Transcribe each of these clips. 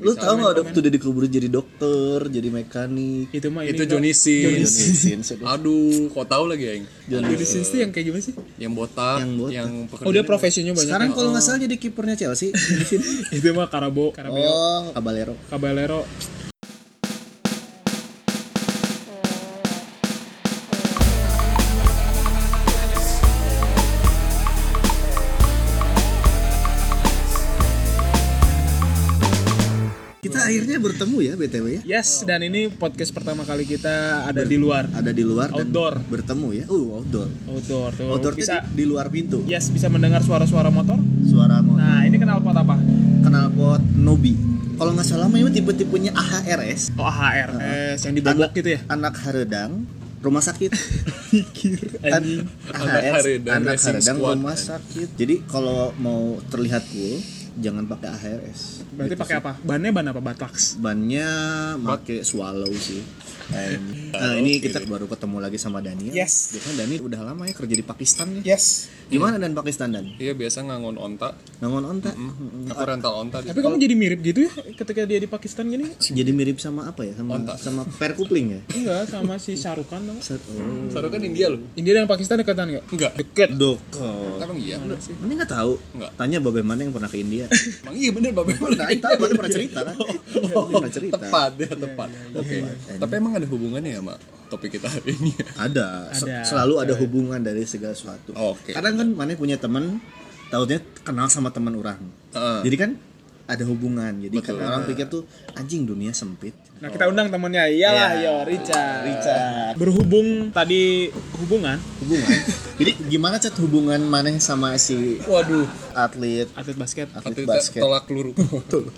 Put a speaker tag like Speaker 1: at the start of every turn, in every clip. Speaker 1: Lu tahu nggak waktu dia dikubur jadi dokter, jadi mekanik, ya
Speaker 2: Itu mah ini
Speaker 3: Itu
Speaker 2: Kak.
Speaker 3: Johnny Sins.
Speaker 1: Indonesian sedih.
Speaker 3: Aduh, kok tahu lagi yang
Speaker 2: Johnny Sins tuh yang kayak gimana sih?
Speaker 3: yang botak,
Speaker 1: Yang
Speaker 3: yang,
Speaker 1: botak.
Speaker 3: pekerjaan.
Speaker 2: Oh dia profesinya banyak. ya?
Speaker 1: Sekarang kalau nggak salah jadi kipernya Chelsea. Indonesian.
Speaker 2: itu mah Karabo, Karabeo,
Speaker 1: oh, Caballero.
Speaker 2: Caballero.
Speaker 1: Kita akhirnya bertemu ya BTW ya.
Speaker 2: Yes, dan ini podcast pertama kali kita ada di luar,
Speaker 1: Ada di luar dan
Speaker 2: Outdoor.
Speaker 1: bertemu ya. Uh, outdoor.
Speaker 2: outdoor tuh.
Speaker 1: Outdoor tuh
Speaker 2: bisa Iya.
Speaker 1: di luar pintu.
Speaker 2: yes bisa mendengar suara-suara motor.
Speaker 1: Suara mau
Speaker 2: Nah, ini kenal pot apa?
Speaker 1: knalpot Nobi. Kalau nggak salah memang tipe-tipenya AHRS.
Speaker 2: Oh, HRS yang dibobok gitu ya.
Speaker 1: Anak haredang rumah sakit.
Speaker 2: Anjing.
Speaker 1: anak
Speaker 3: Haredang
Speaker 1: anak
Speaker 3: Racing
Speaker 1: haredang
Speaker 3: Squad.
Speaker 1: rumah sakit. Jadi kalau mau terlihat cool, jangan pakai AHRS.
Speaker 2: Berarti pakai apa? Bannya ban apa? Batlax.
Speaker 1: Bannya pakai swallow sih. And, nah, ini kita baru ketemu lagi sama Daniel.
Speaker 2: Yes.
Speaker 1: Biasanya Dani udah lama ya kerja di Pakistan ya.
Speaker 2: Yes.
Speaker 1: Gimana dan Pakistan dan?
Speaker 3: Iya, biasa ngangon onta.
Speaker 1: Nangon onta.
Speaker 3: Aku rental onta di
Speaker 2: Tapi kamu jadi mirip gitu ya ketika dia di Pakistan gini?
Speaker 1: Jadi mirip sama apa ya? Sama
Speaker 3: Onta.
Speaker 1: sama perkupling ya.
Speaker 2: Enggak, sama si Sharukan dong.
Speaker 1: Set- Oh.
Speaker 3: Saru kan India loh.
Speaker 2: India dan Pakistan dekatan enggak?
Speaker 3: Enggak.
Speaker 2: Deket.
Speaker 1: Doko.
Speaker 3: Emang iya. bener.
Speaker 1: Ini nggak tahu.
Speaker 3: Nggak.
Speaker 1: Tanya babe mana yang pernah ke India?
Speaker 3: Emang iya bener Babe.
Speaker 1: Nah, itu baru pernah cerita kan? Dia pernah cerita.
Speaker 3: Oh. tepat ya, tepat. Oke. Tapi emang ada hubungannya ya, Mak? Topik kita hari ini.
Speaker 1: Ada. Se-
Speaker 2: Ada.
Speaker 1: Selalu ada hubungan dari segala sesuatu.
Speaker 3: Oke.
Speaker 1: Kadang kan mana punya teman, tautnya kenal sama teman orang.
Speaker 3: Heeh.
Speaker 1: Jadi kan ada hubungan. Jadi kan orang pikir tuh anjing dunia sempit.
Speaker 2: Nah, kita undang temennya. Iyalah, yo Iya. Richard.
Speaker 1: Richard.
Speaker 2: Berhubung tadi hubungan
Speaker 1: Hubungan. Jadi gimana cat hubungan maneh sama si
Speaker 3: Waduh,
Speaker 1: atlet
Speaker 2: atlet basket.
Speaker 1: atlet Oh,
Speaker 3: atlet
Speaker 1: basket?
Speaker 3: tolak peluru.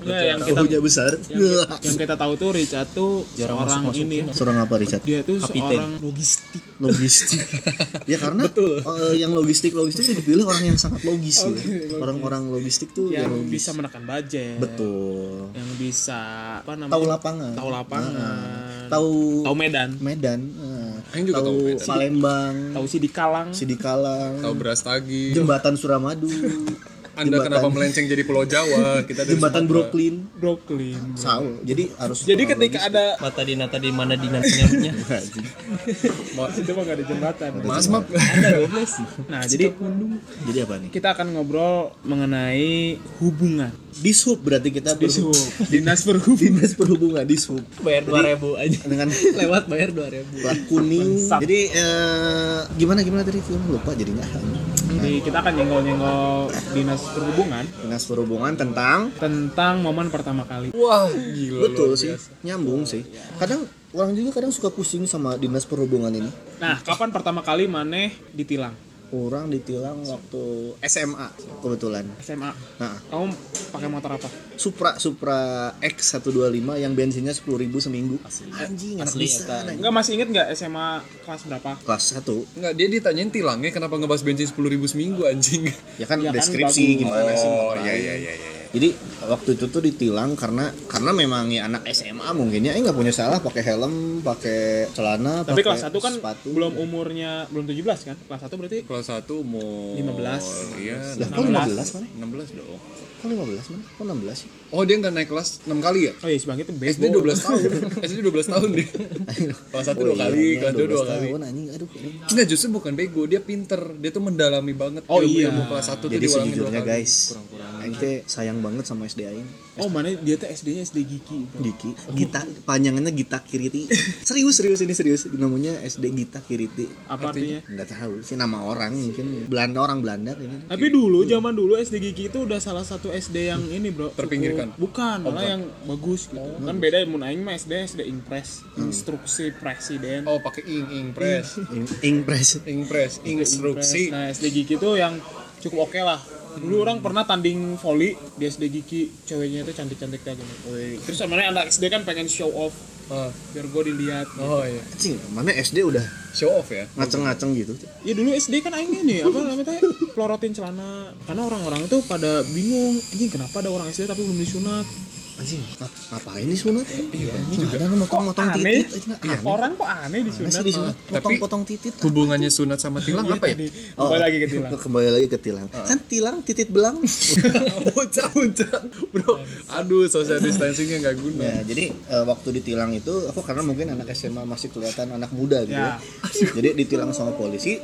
Speaker 2: Nah, yang kita
Speaker 1: Tahunya besar. iya.
Speaker 2: yang kita tahu tuh Richard tuh seorang ini ya.
Speaker 1: Seorang apa Richard?
Speaker 2: Dia tuh
Speaker 1: Kapiten.
Speaker 2: seorang logistik.
Speaker 1: logistik ya karena eh, yang logistik logistik itu dipilih orang yang sangat logis ya. orang-orang logistik tuh
Speaker 2: yang
Speaker 1: yang Iya, logis.
Speaker 2: bisa menekan budget.
Speaker 1: betul
Speaker 2: Yang bisa apa namanya?
Speaker 1: tahu lapangan
Speaker 2: Tahu lapangan.
Speaker 1: Nah, tahu
Speaker 2: Tahu Medan.
Speaker 1: Medan nah,
Speaker 3: Yang juga tahu Medan.
Speaker 1: Palembang
Speaker 2: Tahu sih di Kalang.
Speaker 1: Sidikalang
Speaker 3: Tahu beras tagi.
Speaker 1: jembatan Suramadu
Speaker 3: Anda kenapa melenceng jadi Pulau Jawa? Kita dari
Speaker 1: jembatan
Speaker 3: Sumatera.
Speaker 1: Brooklyn
Speaker 2: Brooklyn.
Speaker 1: Saul jadi harus
Speaker 2: Jadi
Speaker 1: orang
Speaker 2: ketika ada
Speaker 4: mata dina tadi mana dina nyamnya
Speaker 1: logis.
Speaker 2: itu mah gak ada jembatan.
Speaker 3: Mas Map.
Speaker 2: Nah, jadi
Speaker 1: jadi apa nih
Speaker 2: kita akan ngobrol mengenai hubungan.
Speaker 1: dishub berarti kita ber-
Speaker 2: Dishub. Dinas Perhubungan.
Speaker 1: dinas perhubungan dishub
Speaker 4: bayar dua ribu aja
Speaker 1: dengan
Speaker 4: lewat bayar dua ribu
Speaker 1: plat kuning.
Speaker 2: Bangsat.
Speaker 1: Jadi eh, gimana gimana tadi film lupa jadinya.
Speaker 2: Jadi kita akan nyenggol-nyenggol Dinas Perhubungan
Speaker 1: Dinas perhubungan tentang
Speaker 2: tentang momen pertama kali.
Speaker 3: Wah, gila.
Speaker 1: betul sih nyambung sih. Kadang orang juga kadang suka pusing sama dinas perhubungan ini.
Speaker 2: Nah, kapan pertama kali Maneh ditilang?
Speaker 1: Orang ditilang waktu SMA kebetulan.
Speaker 2: SMA.
Speaker 1: Nah,
Speaker 2: Kamu pakai motor apa?
Speaker 1: Supra Supra X 125 yang bensinnya 10.000 seminggu. Anjing, anak
Speaker 4: Asli,
Speaker 1: desa,
Speaker 4: eta.
Speaker 1: anjing.
Speaker 2: Enggak masih inget nggak SMA kelas berapa?
Speaker 1: Kelas 1
Speaker 3: Enggak, dia ditanyain tilangnya kenapa ngebahas bensin 10.000 seminggu anjing.
Speaker 1: ya kan
Speaker 2: Ya kan, bagus.
Speaker 1: deskripsi gimana sih
Speaker 3: Oh,
Speaker 1: ngapain.
Speaker 3: iya iya iya iya.
Speaker 1: Jadi waktu itu tuh ditilang karena karena memang ya anak SMA mungkin ya eh, nggak punya salah pakai helm, pakai celana,
Speaker 2: Tapi
Speaker 1: pakai
Speaker 2: kelas 1 kan
Speaker 1: sepatu.
Speaker 2: belum umurnya belum 17 kan? Kelas 1 berarti
Speaker 3: Kelas 1 umur
Speaker 2: 15.
Speaker 3: Iya,
Speaker 1: Lah, kok 15 mana?
Speaker 3: 16 dong.
Speaker 1: Kok 15 mana? Kok 16 sih?
Speaker 3: Oh, dia nggak naik kelas 6 kali ya?
Speaker 2: Oh iya, sebagai itu
Speaker 3: SD
Speaker 2: baseball.
Speaker 3: 12 tahun. SD 12 tahun dia. Kelas 1 dua kali,
Speaker 1: iya,
Speaker 3: kelas 2 dua
Speaker 1: 12
Speaker 3: kali.
Speaker 1: tahun, anjing, aduh. ini.
Speaker 3: Enggak, Nah, justru bukan bego, dia pinter. Dia tuh mendalami banget
Speaker 2: Oh, iya.
Speaker 3: ilmu kelas 1
Speaker 1: Jadi sejujurnya guys, aing teh sayang banget sama SD aing.
Speaker 2: Oh, mana dia tuh SD-nya SD Gigi.
Speaker 1: Diki, Gita, panjangannya Gita Kiriti. serius serius ini serius, namanya SD Gita Kiriti.
Speaker 2: Apa artinya?
Speaker 1: Enggak tahu sih nama orang mungkin Belanda orang Belanda kayaknya.
Speaker 2: Tapi dulu zaman dulu SD Gigi itu udah salah satu SD yang ini, Bro.
Speaker 3: Terpinggirkan?
Speaker 2: Cukup- Bukan, malah yang bagus gitu. kan beda mun aing mah SD SD Impres, instruksi presiden.
Speaker 3: Oh, pakai ing ing press.
Speaker 1: Ing- Ingpres.
Speaker 3: Ing press, instruksi.
Speaker 2: Nah, SD Gigi itu yang cukup oke lah. Dulu orang pernah tanding volley di SD Gigi, ceweknya itu cantik-cantik kayak gini. Terus sebenarnya anak SD kan pengen show off
Speaker 3: Ah,
Speaker 2: biar gue dilihat.
Speaker 3: Oh iya,
Speaker 1: Anjing, mana SD udah
Speaker 3: show off ya.
Speaker 1: ngaceng-ngaceng gitu.
Speaker 2: Ya dulu SD kan aing ini apa namanya teh pelorotin celana karena orang-orang itu pada bingung, anjing kenapa ada orang SD tapi belum disunat.
Speaker 1: anjing ngap- ngapain disunat
Speaker 3: Iya,
Speaker 1: ada nu motong-motong
Speaker 2: Kok aneh?
Speaker 1: titit anjing, aneh.
Speaker 2: Orang kok aneh
Speaker 1: Aneh
Speaker 2: disunat.
Speaker 1: sih disunat
Speaker 3: Tapi-
Speaker 1: potong-potong titit
Speaker 3: Hubungannya sunat sama tilang
Speaker 1: Iya,
Speaker 3: apa ya?
Speaker 2: Jadi, Kembali lagi
Speaker 1: Oh.
Speaker 2: ke tilang.
Speaker 1: kembali lagi ke tilang
Speaker 3: Ah.
Speaker 1: kan tilang titit belang
Speaker 3: Bocah bocah. Bro,
Speaker 1: Iya.
Speaker 3: aduh social distancingnya nggak guna.
Speaker 2: Hmm.
Speaker 1: Ya, jadi eh, waktu ditilang itu aku karena mungkin anak SMA masih kelihatan anak muda gitu. Ya.
Speaker 2: Ya.
Speaker 1: Jadi ditilang sama polisi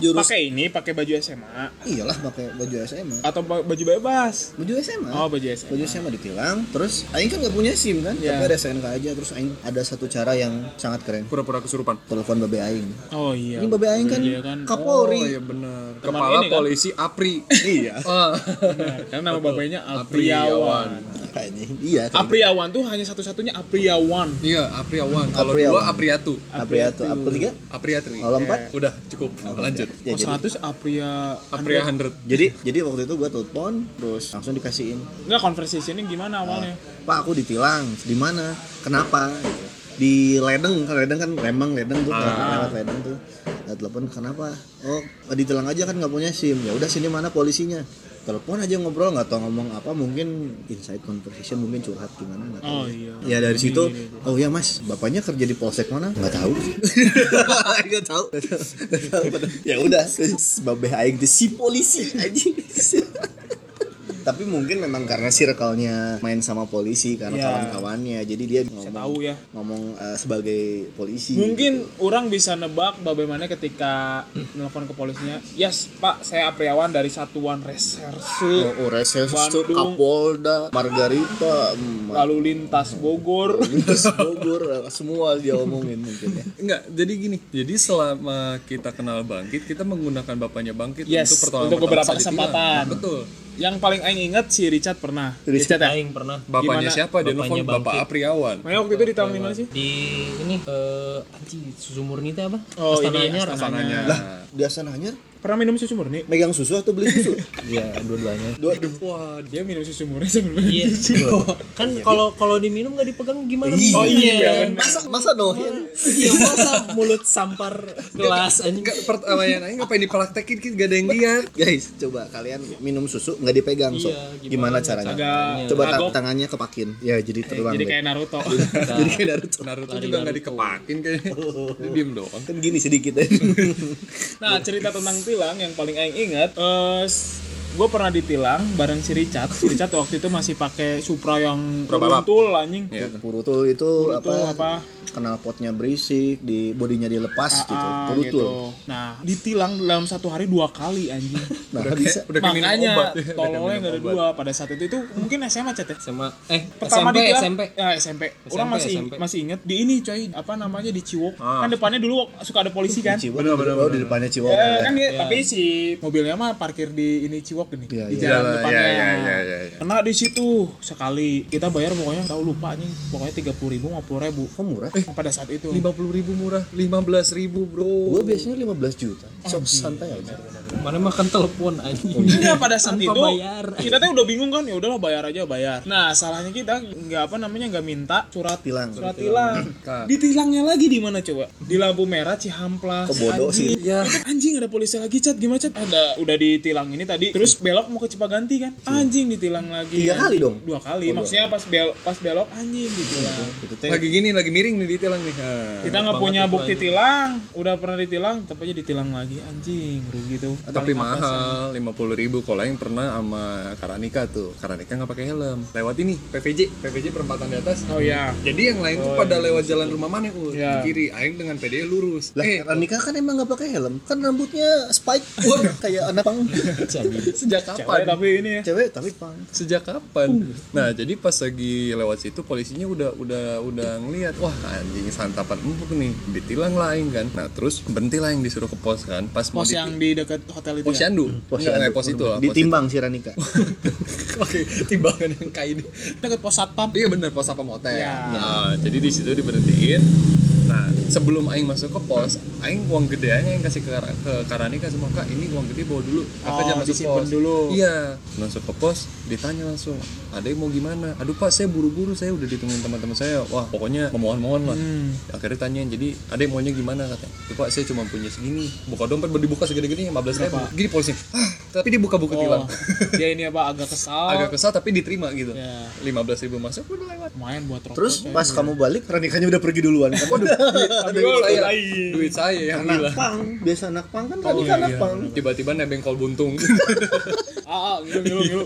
Speaker 1: jurus
Speaker 2: Pakai ini, pakai baju SMA
Speaker 1: iyalah pakai baju SMA.
Speaker 2: atau ba- baju bebas.
Speaker 1: Baju SMA.
Speaker 2: Oh, baju SMA.
Speaker 1: Baju SMA ditilang, terus aing kan nggak punya SIM kan,
Speaker 2: Ya.
Speaker 1: tapi ada SNK aja terus aing ada satu cara yang sangat keren.
Speaker 3: Pura-pura kesurupan.
Speaker 1: Telepon babe aing.
Speaker 2: Oh iya.
Speaker 1: Ini babe aing kan
Speaker 2: Iya kan.
Speaker 1: Kapolri.
Speaker 3: Oh iya benar.
Speaker 2: Teman
Speaker 3: Kepala
Speaker 2: ini kan?
Speaker 3: polisi Apri.
Speaker 1: Iya.
Speaker 3: Ah.
Speaker 2: Benar, Karena nama bapaknya Apriawan.
Speaker 1: Kayaknya iya. kayak gitu.
Speaker 2: Apriawan tuh hanya satu-satunya Apriawan.
Speaker 3: Iya, Apriawan. Kalau
Speaker 1: Apriawan.
Speaker 3: dua Apriatu.
Speaker 1: Apriatu, April tiga,
Speaker 3: Apriatri.
Speaker 2: Iya.
Speaker 1: kalau empat.
Speaker 3: Udah cukup. Lanjut.
Speaker 1: Ya,
Speaker 2: Oh,
Speaker 1: jadi,
Speaker 2: 100 Apria
Speaker 3: Apria 100.
Speaker 1: jadi jadi waktu itu gua telepon terus langsung dikasihin
Speaker 2: Enggak conversationnya gimana awalnya?
Speaker 1: Pak aku ditilang. Di mana? Kenapa? Gitu. Di Ledeng, kan Ledeng kan Lembang Ledeng tuh lewat Ledeng tuh. Nah, telepon kenapa? Oh, ditilang aja kan nggak punya SIM. Ya udah sini mana polisinya? Telepon aja ngobrol nggak tau ngomong apa mungkin inside conversation mungkin curhat gimana nggak tahu.
Speaker 2: Oh iya.
Speaker 1: Ya dari situ, oh ya mas, bapaknya kerja di polsek mana? Nggak tahu. Nggak tahu. Nggak tahu. ya udah, babeh aing teh si polisi anjing. Tapi mungkin memang karena circle-nya main sama polisi karena
Speaker 2: Ya.
Speaker 1: kawan-kawannya, jadi dia ngomong,
Speaker 2: tahu ya.
Speaker 1: ngomong eh, sebagai polisi.
Speaker 2: Mungkin orang bisa nebak bagaimana ketika nelfon ke polisinya. Yes, Pak, saya Apriawan dari Satuan Reserse
Speaker 1: Oh, oh reses
Speaker 2: Bandung.
Speaker 1: Kapolda, Margarita, hmm,
Speaker 2: Lalu Lintas Bogor.
Speaker 1: Lintas Bogor, eh, semua dia omongin mungkin ya.
Speaker 3: Enggak, jadi gini. Jadi selama kita kenal Bangkit, kita menggunakan bapaknya Bangkit
Speaker 2: Yes, untuk beberapa
Speaker 3: saat ditilang.
Speaker 2: kesempatan.
Speaker 3: Betul.
Speaker 2: Yang paling aing inget si Richard pernah.
Speaker 1: Richard,
Speaker 4: Aing pernah
Speaker 2: Gimana?
Speaker 3: Bapaknya siapa? Dia nelfon
Speaker 4: Bapaknya
Speaker 3: Bapak
Speaker 4: Bangkit.
Speaker 3: Apriawan.
Speaker 2: Makanya waktu itu di tahun di mana sih?
Speaker 4: Di ini eh anjing susu murni itu apa?
Speaker 2: Oh, ini
Speaker 4: Astananya,
Speaker 2: Astana.
Speaker 3: Sananya.
Speaker 1: Lah, biasa nanya
Speaker 2: Pernah minum susu murni?
Speaker 1: megang susu atau beli susu?
Speaker 4: Iya, dua-duanya.
Speaker 1: Dua,
Speaker 3: Wah,
Speaker 2: Dia minum susu murni sebelum
Speaker 4: Iya. kan kalau kalau diminum nggak dipegang gimana?
Speaker 2: Oh iya.
Speaker 1: Eh,
Speaker 2: bener.
Speaker 1: masa masa dohin
Speaker 4: Iya, masa mulut sampar gelas anjing.
Speaker 3: Enggak pertanyaan aing ngapain dipraktekin kita gak ada yang lihat.
Speaker 1: guys coba kalian minum susu nggak dipegang so
Speaker 4: Iya,
Speaker 1: gimana,
Speaker 4: gimana
Speaker 1: caranya
Speaker 2: caranya?
Speaker 1: coba ta-
Speaker 2: Kagok. Eh,
Speaker 1: tangannya kepakin ya jadi terbang
Speaker 2: Jadi
Speaker 1: deh.
Speaker 2: kayak Naruto.
Speaker 1: jadi kayak Naruto
Speaker 3: Naruto juga nggak dikepakin kayaknya. Dia diem doang.
Speaker 1: kan gini sedikit ya
Speaker 2: Nah, cerita tentang tilang yang paling aing inget, eh gue pernah ditilang bareng si Richard. Si Richard waktu itu masih pakai Supra yang
Speaker 3: Prabalap.
Speaker 2: runtul anjing.
Speaker 3: Iya.
Speaker 1: Purutul itu
Speaker 2: Purutul
Speaker 1: apa,
Speaker 2: apa?
Speaker 1: kenal potnya berisik di bodinya dilepas gitu
Speaker 2: Ah,
Speaker 1: Purutul
Speaker 2: Nah, ditilang dalam satu hari dua kali anjing.
Speaker 1: nah bisa
Speaker 3: Udah kayak
Speaker 2: Makanya
Speaker 3: minum obat. Udah kayak
Speaker 2: tololnya
Speaker 3: minum
Speaker 2: nggak ada
Speaker 3: obat.
Speaker 2: dua pada saat itu itu mungkin SMA chat ya.
Speaker 4: Sama eh
Speaker 2: Pertama
Speaker 4: SMP,
Speaker 2: ditilang-
Speaker 4: SMP.
Speaker 2: Ya, SMP. Orang
Speaker 4: SMP.
Speaker 2: masih masih inget di ini coy, apa namanya di Ciwok. Kan
Speaker 3: Ah.
Speaker 2: depannya dulu suka ada polisi kan.
Speaker 1: Ciwok
Speaker 3: Bener, bener,
Speaker 1: oh, di depannya Ciwok
Speaker 3: Iya,
Speaker 2: Eh, kan dia, tapi si mobilnya mah parkir di ini Ciwok nih,
Speaker 1: Iya,
Speaker 2: di
Speaker 1: iya.
Speaker 2: jalan
Speaker 3: Iya,
Speaker 2: depannya.
Speaker 3: iya, iya, iya, iya.
Speaker 2: Kena di situ sekali. Kita bayar pokoknya tahu lupa nih, pokoknya tiga puluh ribu, lima puluh ribu.
Speaker 1: kok murah Eh,
Speaker 2: Pada saat itu.
Speaker 3: Eh, Lima puluh ribu murah, lima belas ribu bro.
Speaker 1: gua biasanya 15 juta
Speaker 2: Oh,
Speaker 1: sok santai aja
Speaker 4: Mana makan telepon anjing.
Speaker 2: Enggak pada saat
Speaker 4: Tanpa
Speaker 2: itu
Speaker 4: bayar.
Speaker 2: kita tuh udah bingung kan ya udahlah bayar aja bayar. Nah salahnya kita nggak apa namanya nggak minta surat
Speaker 1: Tilang. Hmm.
Speaker 2: surat tilang.
Speaker 3: Kak.
Speaker 2: Ditilangnya lagi di mana coba? Di lampu merah Cihamplas.
Speaker 1: Kok bodoh sih?
Speaker 2: Anjing. Ya kan, anjing ada polisi lagi cat gimana cat? Ada udah ditilang ini tadi terus belok mau ke Cipaganti kan? Anjing ditilang lagi.
Speaker 1: Iya. Tiga kali dong?
Speaker 2: Dua kali. Maksudnya pas belok pas belok anjing ditilang.
Speaker 1: itu kan teh
Speaker 3: Lagi gini, lagi miring nih ditilang nih.
Speaker 2: Kita nggak punya bukti tilang, udah pernah ditilang, tapi aja ditilang lagi, anjing, rugi tuh.
Speaker 3: tapi mahal lima puluh ribu kalau yang pernah sama Karanika tuh Karanika nggak pakai helm lewat ini PVJ PVJ perempatan di atas
Speaker 2: Oh ya,
Speaker 3: jadi yang lain tuh pada lewat jalan rumah mana Ul? Di
Speaker 2: Iya.
Speaker 3: kiri aing dengan PD lurus
Speaker 1: Lah,
Speaker 3: eh
Speaker 1: Ranika kan emang nggak pakai helm, kan rambutnya spike, Waduh, kayak anak pang.
Speaker 3: sejak
Speaker 2: cewek
Speaker 3: kapan
Speaker 2: tapi ini ya.
Speaker 1: Cewek tapi pang.
Speaker 3: sejak kapan nah jadi pas lagi lewat situ polisinya udah udah udah ngelihat wah anjing santapan empuk nih ditilang lah aing kan nah terus berhenti lah yang disuruh ke pos kan pas mau
Speaker 2: Pos
Speaker 3: di-
Speaker 2: yang di dekat hotel itu.
Speaker 3: pos
Speaker 2: ya?
Speaker 3: yandu Enggak, enggak, Iya, eh, pos itu lah pos itu.
Speaker 1: Ditimbang si Ranika.
Speaker 3: oke timbangan yang kayak ini
Speaker 2: Dekat pos satpam.
Speaker 3: Iya bener pos apa motel.
Speaker 2: Iya.
Speaker 3: Nah, jadi di situ diberhentiin. Nah, sebelum aing masuk ke pos, aing uang gede aja yang kasih ke, Kar- ke Karanika semua kak, ini uang gede bawa dulu. Kakak
Speaker 2: Oh,
Speaker 3: jangan masuk
Speaker 2: disimpan
Speaker 3: pos.
Speaker 2: dulu.
Speaker 3: Iya, masuk ke pos, ditanya langsung, ada yang mau gimana aduh pak saya buru-buru saya udah ditungguin teman-teman saya wah pokoknya memohon-mohon lah
Speaker 2: Hmm.
Speaker 3: akhirnya tanyain jadi ada yang maunya gimana katanya "Tuh, pak saya cuma punya segini buka dompet baru dibuka segede-gedenya 15 ribu gini polisi "Hah, tapi dibuka-buka
Speaker 2: oh,
Speaker 3: tilang
Speaker 2: dia ini apa agak kesal
Speaker 3: agak kesal tapi diterima gitu
Speaker 2: Ya.
Speaker 3: 15 ribu masuk udah lewat
Speaker 2: lumayan buat rokok
Speaker 1: Terus pas kamu balik Ranikannya udah pergi duluan kan? Waduh,
Speaker 3: duit saya Nah, kan duit saya yang
Speaker 1: anak
Speaker 3: gila
Speaker 1: pang, biasa anak pang kan Ranika anak
Speaker 3: iya.
Speaker 1: pang.
Speaker 3: tiba-tiba nebeng kol buntung
Speaker 2: ah, ah ngilu ngilu ngilu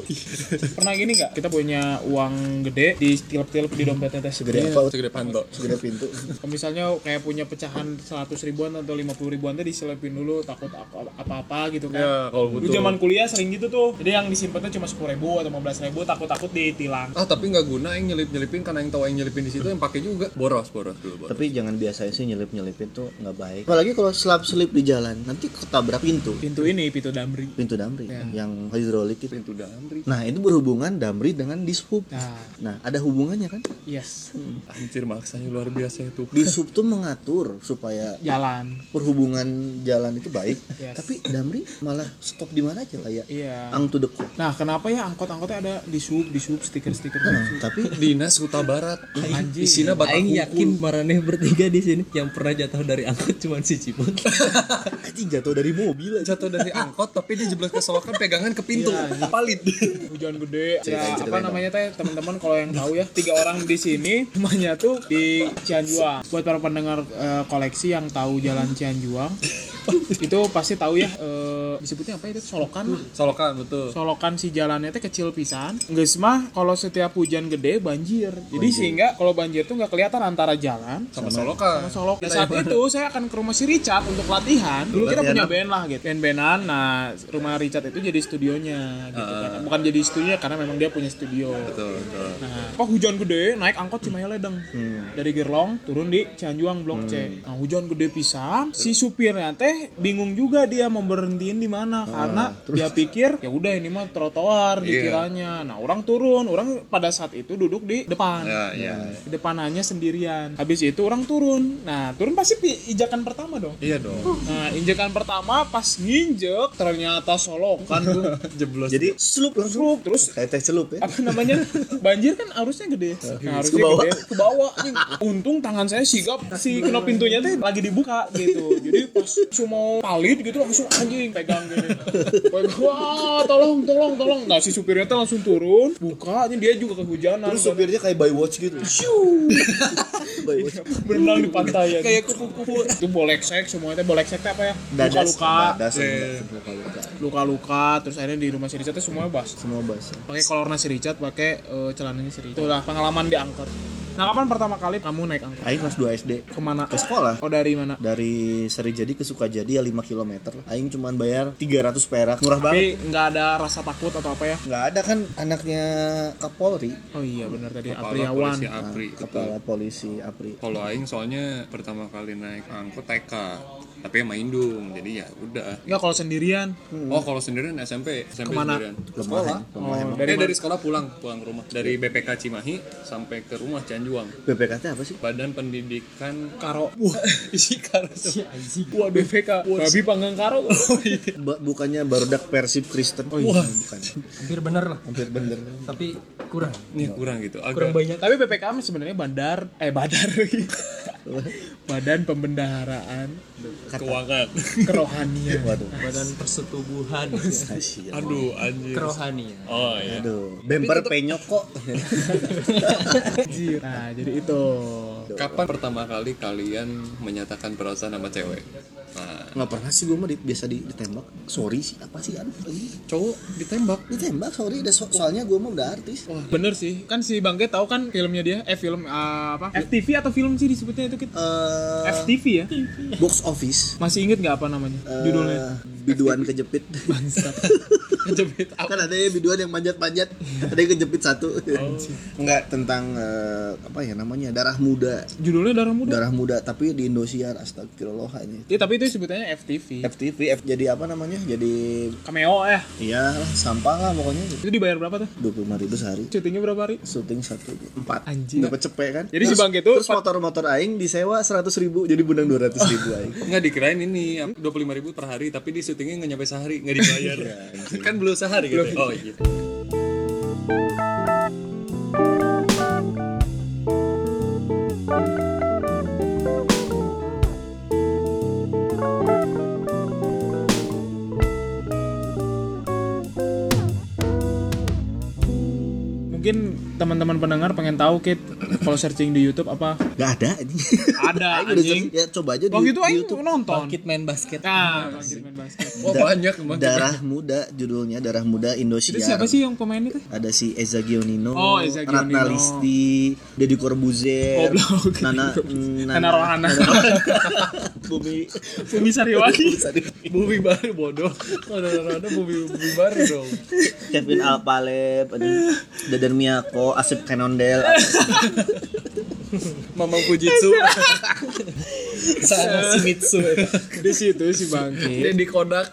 Speaker 2: pernah gini nggak kita punya uang gede di tilap-tilap di dompetnya teh
Speaker 1: Segede
Speaker 2: segede
Speaker 1: apa?
Speaker 3: segede panto
Speaker 1: Segede pintu.
Speaker 2: Kalau misalnya kayak punya pecahan 100 ribuan atau 50 ribuan teh diselipin dulu takut apa- apa-apa gitu kan
Speaker 3: ya kol
Speaker 2: Dulu
Speaker 3: buntung
Speaker 2: zaman kuliah sering gitu tuh. Jadi yang disimpannya cuma 10 ribu atau 15 ribu takut-takut ditilang.
Speaker 3: ah tapi nggak guna yang nyelip nyelipin karena yang tahu yang nyelipin di situ yang pakai juga boros boros dulu boros
Speaker 1: Tapi jangan biasanya sih nyelip-nyelipin tuh nggak baik. Apalagi kalau selap-selip di jalan, nanti ketabrak pintu.
Speaker 2: Pintu ini pintu damri.
Speaker 1: Pintu damri yang hidrolik itu.
Speaker 3: pintu damri
Speaker 1: Nah, itu berhubungan damri dengan dishub.
Speaker 2: Nah,
Speaker 1: Nah, ada hubungannya kan?
Speaker 2: yes.
Speaker 3: anjir maksanya luar biasa itu
Speaker 1: Dishub tuh mengatur supaya
Speaker 2: Jalan.
Speaker 1: perhubungan jalan itu baik.
Speaker 2: Yes.
Speaker 1: Tapi damri malah stop di mana aja kayak
Speaker 2: Iya.
Speaker 1: ang to the coast.
Speaker 2: Nah, kenapa ya angkot-angkotnya ada di sub, di sub, stiker-stiker di
Speaker 1: Nah,
Speaker 2: sub?
Speaker 1: tapi
Speaker 3: dinas Huta Barat
Speaker 2: Anjing.
Speaker 3: isinya batak
Speaker 4: Aing
Speaker 3: kumpul
Speaker 4: yakin Maraneh bertiga di sini yang pernah jatuh dari angkut cuma si Ciput.
Speaker 1: anjing jatuh dari mobil aja.
Speaker 3: jatuh dari angkot tapi dia jeblos ke selokan pegangan ke pintu valid
Speaker 2: Hujan gede.
Speaker 1: Ceritain,
Speaker 2: Ya, apa
Speaker 1: ceritain
Speaker 2: namanya teh teman-teman kalau yang tahu ya, tiga orang di sini rumahnya tuh di Cianjuang. Buat para pendengar eh, koleksi yang tahu jalan Cianjuang, itu pasti tahu ya eh, disebutnya apa itu solokan lah.
Speaker 3: selokan betul
Speaker 2: solokan si jalannya teh kecil pisan geus mah kalau setiap hujan gede banjir jadi sehingga kalau banjir tuh nggak kelihatan antara jalan
Speaker 3: sama selokan
Speaker 2: sama solok Dan Iya. Ya, saat itu saya akan ke rumah si Richard untuk latihan dulu kita punya band lah gitu band bandan nah rumah Richard itu jadi studionya gitu kan bukan jadi studionya karena memang dia punya studio
Speaker 3: betul betul
Speaker 2: Nah, kok hujan gede naik angkot Cimahi Ledeng.
Speaker 3: Hmm.
Speaker 2: Dari Gerlong turun di Cianjuang Blok C. Nah, hujan gede pisan, si supirnya teh bingung juga dia mau berhentiin di mana
Speaker 3: Ah,
Speaker 2: karena dia pikir ya udah ini mah
Speaker 3: Iya.
Speaker 2: trotoar dikiranya. Nah, orang turun, orang pada saat itu duduk di depan.
Speaker 3: ya ya
Speaker 2: Di depanannya sendirian. Habis itu orang turun. Nah, turun pasti pi- ijakan pertama dong.
Speaker 3: iya dong
Speaker 2: Nah, injakan pertama pas nginjek ternyata solokan tuh.
Speaker 3: jeblos
Speaker 1: Jadi celup langsung.
Speaker 2: Terus- terus
Speaker 1: Kayak teh celup ya.
Speaker 2: apa namanya banjir kan arusnya gede nah, arusnya
Speaker 1: Ke bawah.
Speaker 2: gede ke bawah Anjing, untung tangan saya sigap si kena pintunya teh lagi dibuka gitu jadi pas cuma palit gitu langsung anjing pegang gini Pegang, wah tolong tolong tolong nah si supirnya teh langsung turun buka anjing dia juga kehujanan
Speaker 1: Terus supirnya kayak by watch gitu. by watch.
Speaker 2: berenang di pantai kayak kupu-kupu itu bolek sek semuanya teh bolek sek teh apa ya
Speaker 1: Dadas,
Speaker 2: luka-luka
Speaker 1: dadas, dadas, luka-luka.
Speaker 2: luka-luka terus akhirnya di rumah si Richard teh semuanya bas
Speaker 1: Semua basah.
Speaker 2: pakai kolornya si Richard pakai eh, celananya si Richard itulah pengalaman di angkot nah kapan pertama kali kamu naik angkot
Speaker 1: Aing kelas 2 SD
Speaker 2: kemana
Speaker 1: ke sekolah
Speaker 2: oh dari mana
Speaker 1: dari Sarijadi ke Sukajadi ya 5 km lah. Aing cuman bayar 300 perak. Murah banget.
Speaker 2: tapi nggak ada rasa takut atau apa ya
Speaker 1: nggak ada kan anaknya Kapolri,
Speaker 2: oh iya benar tadi
Speaker 3: Kepala
Speaker 2: Apriawan
Speaker 3: polisi Apri betul
Speaker 1: kepala polisi Apri.
Speaker 3: Kalau aing soalnya pertama kali naik angkot TK, tapi sama Indung. Jadi ya udah.
Speaker 2: nggak kalau sendirian
Speaker 3: Oh, kalau sendirian SMP, SMP
Speaker 2: Kemana?
Speaker 3: sendirian. Eh,
Speaker 1: Lemahan, lemahan.
Speaker 2: oh,
Speaker 3: Dari,
Speaker 2: dari
Speaker 3: dari sekolah pulang, pulang ke rumah. Dari BPK Cimahi sampai ke rumah Cianjuang.
Speaker 1: BPKT apa sih?
Speaker 3: Badan Pendidikan
Speaker 2: Karo
Speaker 3: isi kartu.
Speaker 2: Wah BVK Babi panggang Karo
Speaker 1: Ba- bukannya Barudak Persib Kristen. Oh, iya, bukan.
Speaker 4: Hampir bener lah,
Speaker 1: Hampir bener.
Speaker 4: tapi kurang.
Speaker 3: Nih kurang gitu. Agak
Speaker 4: Kurang banyak.
Speaker 2: Tapi BPK mah sebenarnya bandar Eh bandar lagi Badan Pembendaharaan
Speaker 3: keuangan.
Speaker 2: Kerohanian
Speaker 1: Waduh.
Speaker 4: Badan persetubuhan.
Speaker 1: Kasihan.
Speaker 3: Aduh, anjir.
Speaker 4: Kerohanian.
Speaker 3: Oh iya.
Speaker 1: Aduh, bemper penyok kok.
Speaker 2: Anjir. Nah jadi itu
Speaker 3: Kapan pertama kali kalian menyatakan perasaan sama cewek? Nah,
Speaker 1: Nggak pernah sih gue mah di- biasa di- ditembak. Sorry sih, apa sih? Aduh, ih.
Speaker 3: cowok ditembak.
Speaker 1: ditembak sorry. udah so- soalnya gue mah udah artis.
Speaker 2: Bener sih, kan si Bangke tahu kan filmnya dia, eh film eh, apa? FTV atau film sih disebutnya itu kita.
Speaker 1: Eh,
Speaker 2: FTV ya?
Speaker 1: box office.
Speaker 2: Masih inget nggak apa namanya?
Speaker 1: eh,
Speaker 2: Judulnya?
Speaker 1: biduan kejepit.
Speaker 2: Bangsat. Kejepit apa?
Speaker 1: kan ada ya biduan yang manjat-manjat ada yang kejepit satu enggak tentang eh, apa ya namanya darah muda
Speaker 2: Judulnya Darah Muda.
Speaker 1: darah muda tapi di Indosiar astagfirullahaladzim
Speaker 2: Iya, tapi itu sebutannya FTV.
Speaker 1: FTV F jadi apa namanya jadi
Speaker 2: Cameo ya.
Speaker 1: ya sampah lah pokoknya
Speaker 2: Itu dibayar berapa tuh?
Speaker 1: dua puluh ribu sehari
Speaker 2: Syutingnya berapa hari?
Speaker 1: syuting satu empat
Speaker 2: Anjing.
Speaker 1: dapat cepet kan
Speaker 2: Iya. Jadi si
Speaker 1: Terus-
Speaker 2: Bang itu-
Speaker 1: terus motor-motor aing disewa seratus ribu jadi bundang dua ratus ribu aing
Speaker 3: Nggak dikirain ini 25 ribu per hari tapi di syutingnya nggak nyampe ya? sehari nggak dibayar kan belum sehari gitu oh iya
Speaker 2: teman-teman pendengar pengen tahu Kit kalau searching di YouTube apa?
Speaker 1: Gak ada anjing. Aing udah
Speaker 2: Ada Ah,
Speaker 1: searching.
Speaker 2: anjing.
Speaker 1: ya coba aja di,
Speaker 2: Waktu itu
Speaker 1: di
Speaker 2: aing
Speaker 1: YouTube.
Speaker 2: nonton.
Speaker 4: Bangkit main basket.
Speaker 2: Nah, bangkit main basket.
Speaker 3: Oh banyak emang.
Speaker 1: Darah Muda judulnya Darah Muda Indosiar.
Speaker 2: Itu siapa sih yang pemain itu?
Speaker 1: Ada si Eza Gionino,
Speaker 2: Oh, Eza
Speaker 1: Ratna
Speaker 2: Gionino.
Speaker 1: Listi, Deddy Corbuzier,
Speaker 2: Goblok.
Speaker 1: Nana,
Speaker 2: Nana Rohana.
Speaker 1: Bumi,
Speaker 2: Bumi Sariwati.
Speaker 4: Bumi baru bodoh. Kalau
Speaker 3: Kan
Speaker 4: ada bumi bumi baru dong.
Speaker 1: Kevin Alpalep, anjing. Dadan Miyako, Asep Kenondel,
Speaker 4: Mama Fujitsu. Sama Shimizu.
Speaker 2: Di situ si Bangkit.
Speaker 3: Di Kodak.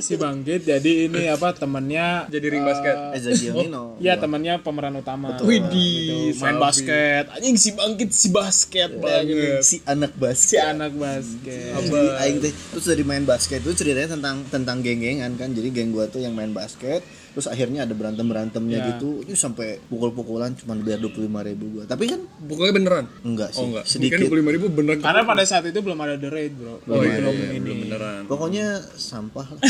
Speaker 2: Si Bangkit jadi ini apa temannya
Speaker 3: Jadi ring basket.
Speaker 1: Eza Gionino.
Speaker 2: Ya temannya pemeran utama. Widih, Iya, main basket. Anjing si Bangkit si basket banget.
Speaker 1: si anak
Speaker 2: ya, gitu. Si
Speaker 1: basket.
Speaker 2: anak basket.
Speaker 1: Jadi aing teh terus dari main basket itu ceritanya tentang tentang geng-gengan kan. Jadi geng gua tuh yang main basket terus akhirnya ada berantem-berantemnya
Speaker 2: Ya.
Speaker 1: gitu. Itu sampai pukul-pukulan cuma biar 25 ribu gua. Tapi kan
Speaker 3: Pokoknya beneran.
Speaker 1: enggak sih,
Speaker 3: Oh enggak.
Speaker 1: sedikit.
Speaker 3: Mungkin 25 ribu beneran.
Speaker 2: Karena pada saat itu belum ada The Raid, Bro. Jadi
Speaker 3: Oh iya,
Speaker 2: belum
Speaker 3: iya, iya,
Speaker 2: ini.
Speaker 3: belum beneran.
Speaker 1: Pokoknya sampah lah.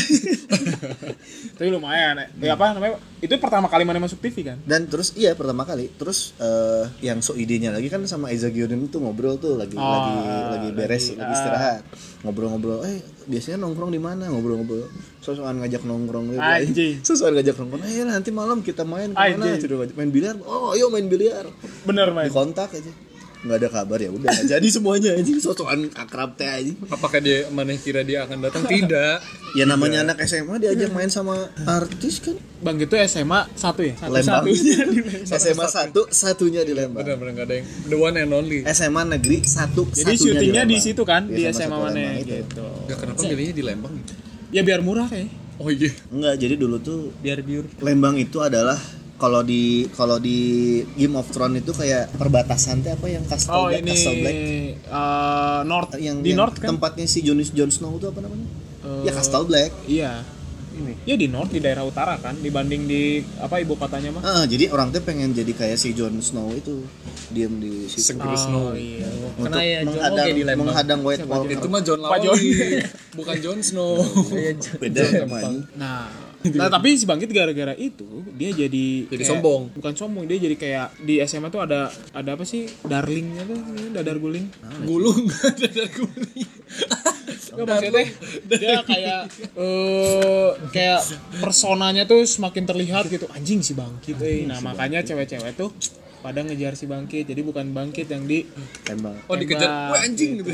Speaker 2: Tapi lumayan. eh. Ya apa namanya? Itu pertama kali mana masuk TV kan?
Speaker 1: Dan terus iya pertama kali. Terus eh, yang so idenya lagi kan sama Eza Gionim tuh ngobrol tuh lagi lagi lagi beres, lagi istirahat. Ngobrol-ngobrol, eh biasanya nongkrong di mana? Ngobrol-ngobrol. Sosokan ngajak nongkrong gitu.
Speaker 2: Anjing.
Speaker 1: Sosokan ngajak nongkrong. Eh nanti malam kita main kemana?
Speaker 2: Anjing.
Speaker 1: Cedera ngajak main biliar. Oh, ayo main biliar.
Speaker 2: Bener main.
Speaker 1: Dikontak aja. nggak ada kabar ya udah nggak jadi semuanya anjing sosokan akrab teh anjing.
Speaker 3: Apakah dia mana kira dia akan datang? Tidak.
Speaker 1: Ya namanya anak SMA diajak main sama artis kan.
Speaker 2: Bang itu SMA satu ya? Satu
Speaker 1: Lembang.
Speaker 2: satunya.
Speaker 1: SMA satu satunya di Lembang.
Speaker 3: Benar-benar nggak ada yang the one and only.
Speaker 1: SMA negeri satu
Speaker 2: Jadi
Speaker 1: satunya
Speaker 2: syutingnya di
Speaker 1: Lembang. Iya,
Speaker 2: situ kan di
Speaker 1: satu
Speaker 2: SMA mana
Speaker 1: Lembang itu.
Speaker 2: gitu.
Speaker 3: Ya kenapa milihnya di Lembang? gitu?
Speaker 2: Ya biar murah kayaknya.
Speaker 3: Oh iya.
Speaker 1: Enggak, jadi dulu tuh
Speaker 4: Biar biur.
Speaker 1: Lembang itu adalah kalau di kalau di Game of Thrones itu kayak perbatasan teh apa yang Castle
Speaker 2: Oh
Speaker 1: Black,
Speaker 2: ini
Speaker 1: Castle Black
Speaker 2: eh, North
Speaker 1: yang,
Speaker 2: di
Speaker 1: yang
Speaker 2: North kan?
Speaker 1: tempatnya si Jon Jon Snow itu apa namanya?
Speaker 2: Eh,
Speaker 1: ya Castle Black.
Speaker 2: Iya. Ini. Ya di North di daerah utara kan dibanding di apa ibu kotanya mah.
Speaker 1: Heeh, jadi orang teh pengen jadi kayak si Jon Snow itu diam di situ
Speaker 3: Segeru Snow.
Speaker 2: iya.
Speaker 1: untuk
Speaker 4: Kena ya, Jon
Speaker 1: menghadang
Speaker 4: Oge di Lembang.
Speaker 1: menghadang White Walker.
Speaker 2: gitu,
Speaker 3: Itu mah John
Speaker 2: Pak John.
Speaker 3: Lawley, Oh, iya. bukan John Snow.
Speaker 1: beda emang.
Speaker 2: Nah, nah tapi si Bangkit gara-gara itu dia jadi
Speaker 3: Jadi sombong.
Speaker 2: Bukan sombong, dia jadi kayak di SMA tuh ada ada apa sih? Darlingnya tuh, dadar guling.
Speaker 3: Gulung dadar guling.
Speaker 2: Nggak, maksudnya dia kayak eh kayak personanya tuh semakin terlihat gitu. Anjing si Bangkit eh. Nah, makanya cewek-cewek tuh pada ngejar si Bangkit. Jadi bukan Bangkit yang di
Speaker 1: Lembang.
Speaker 3: Oh dikejar,
Speaker 2: Tembak,
Speaker 3: wah anjing gitu.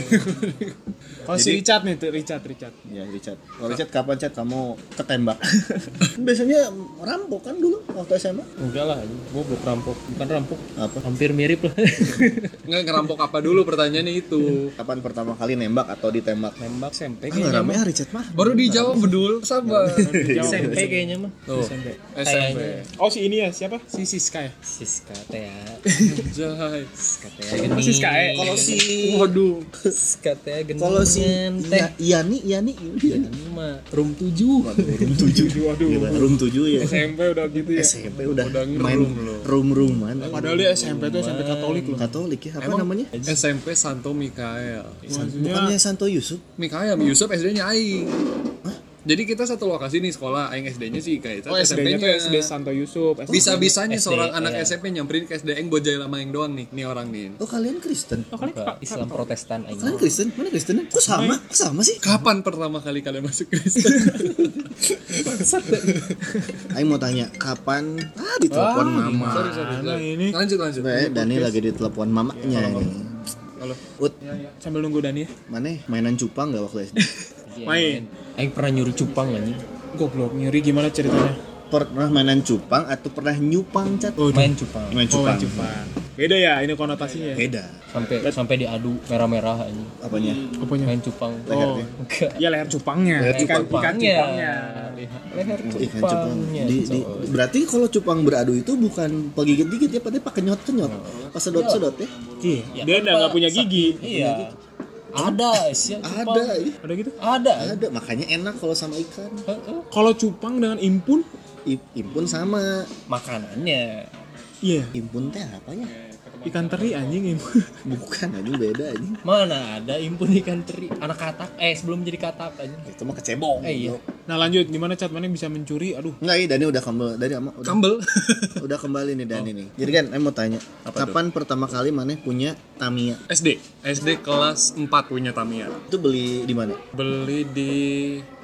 Speaker 2: Oh si Richard nih, tuh, Richard, Richard.
Speaker 1: Ya Richard. Kalau Richard kapan Chat kamu ketembak? Biasanya rampok kan dulu waktu SMA?
Speaker 4: Enggak lah, gua belum rampok. Bukan rampok.
Speaker 1: Apa?
Speaker 4: Hampir mirip lah.
Speaker 3: Nggak ngerampok apa dulu pertanyaannya itu.
Speaker 1: Kapan pertama kali nembak atau ditembak?
Speaker 4: Nembak SMP
Speaker 1: Ah, rame ah Richard mah.
Speaker 3: Baru dijawab bedul, sabar.
Speaker 4: SMP kayaknya mah.
Speaker 3: Tuh, SMP.
Speaker 2: Oh si ini ya, siapa? Si Siska ya?
Speaker 4: Siska Tea.
Speaker 3: Jai.
Speaker 4: Siska Tea geni.
Speaker 2: Si Siska eh.
Speaker 1: Kalau si
Speaker 2: Waduh.
Speaker 4: Siska Tea geni.
Speaker 1: kalau si
Speaker 4: Teh.
Speaker 1: Ya- Yani Yani
Speaker 4: Ini mah room 7.
Speaker 1: room 7.
Speaker 2: Waduh.
Speaker 1: room 7 ya.
Speaker 2: SMP udah gitu ya.
Speaker 1: SMP udah
Speaker 3: Udah
Speaker 1: main
Speaker 3: ngerum lo.
Speaker 1: room-rooman
Speaker 2: Padahal dia SMP tuh SMP Katolik loh.
Speaker 1: Katolik ya apa namanya?
Speaker 3: SMP Santo Mikael.
Speaker 2: Maksudnya
Speaker 1: Bukannya Santo Yusuf?
Speaker 3: Mikael, Yusuf SD-nya Aing. Jadi kita satu lokasi nih sekolah, Aing SD-nya sih kayak
Speaker 2: Oh SD-nya tuh SD Santo Yusuf. SD.
Speaker 3: Bisa-bisanya
Speaker 4: SD,
Speaker 3: seorang anak
Speaker 4: iya.
Speaker 3: SMP nyamperin ke SD Aing bojai lama Aing doang nih, nih orang nih.
Speaker 1: Oh kalian Kristen?
Speaker 2: Oh, kalian
Speaker 4: Enggak, Islam Protestan aja.
Speaker 1: Kalian Kristen? Mana Kristennya? Kok sama? Kok sama sih?
Speaker 3: Kapan pertama kali kalian masuk Kristen?
Speaker 1: Aing mau tanya, kapan? Ah, ditelepon mama.
Speaker 2: Nah, ini
Speaker 3: lanjut lanjut.
Speaker 1: Eh, Dani lagi ditelepon mamanya ini.
Speaker 3: Halo.
Speaker 1: Ut,
Speaker 2: sambil nunggu Dani ya.
Speaker 1: mana mainan cupang nggak waktu SD?
Speaker 2: Main.
Speaker 4: Iya, Aing pernah nyuri cupang anjing.
Speaker 2: Goblok, nyuri gimana ceritanya?
Speaker 1: pernah mainan cupang atau pernah nyupang cat?
Speaker 4: Oh, Main cupang.
Speaker 1: Main cupang.
Speaker 2: Beda ya ini konotasinya.
Speaker 1: Beda.
Speaker 4: Sampai sampai diadu merah-merah anjing.
Speaker 1: Apanya?
Speaker 2: Apanya?
Speaker 4: Main cupang.
Speaker 2: Oh.
Speaker 4: Enggak.
Speaker 2: Ya leher cupangnya,
Speaker 1: Leher
Speaker 2: ikan ikan
Speaker 4: Cupangnya.
Speaker 2: cupangnya.
Speaker 4: Leher
Speaker 1: Ikan cupang.
Speaker 4: cupangnya.
Speaker 1: Di, di, berarti kalau cupang beradu itu bukan pegigit-gigit ya, padahal pakai nyot-kenyot. Pas sedot-sedot ya.
Speaker 2: Iya. Dia udah nggak punya gigi.
Speaker 4: Iya. Ada sih cupang.
Speaker 1: Ada, ini.
Speaker 2: Ada gitu?
Speaker 4: Ada.
Speaker 1: ada. Makanya enak kalau sama ikan.
Speaker 4: Heeh.
Speaker 2: Kalau cupang dengan impun,
Speaker 1: I- Impun sama.
Speaker 4: Makanannya.
Speaker 2: iya.
Speaker 1: Impun teh apa ya?
Speaker 2: Ikan teri anjing impun.
Speaker 1: Bukan, ini beda ini.
Speaker 4: Mana ada impun ikan teri anak katak eh sebelum jadi katak aja.
Speaker 1: Itu mah kecebong.
Speaker 4: Eh iya.
Speaker 2: Nah lanjut, gimana cat mana bisa mencuri? Aduh,
Speaker 1: Enggak, iya Dani udah kembali. Dani ama- udah,
Speaker 3: Kambel.
Speaker 1: udah kembali nih Dani nih. Jadi kan, em mau tanya, kapan pertama kali mana punya Tamiya?
Speaker 3: SD. SD kelas 4 punya Tamiya.
Speaker 1: Itu beli di mana?
Speaker 3: Beli di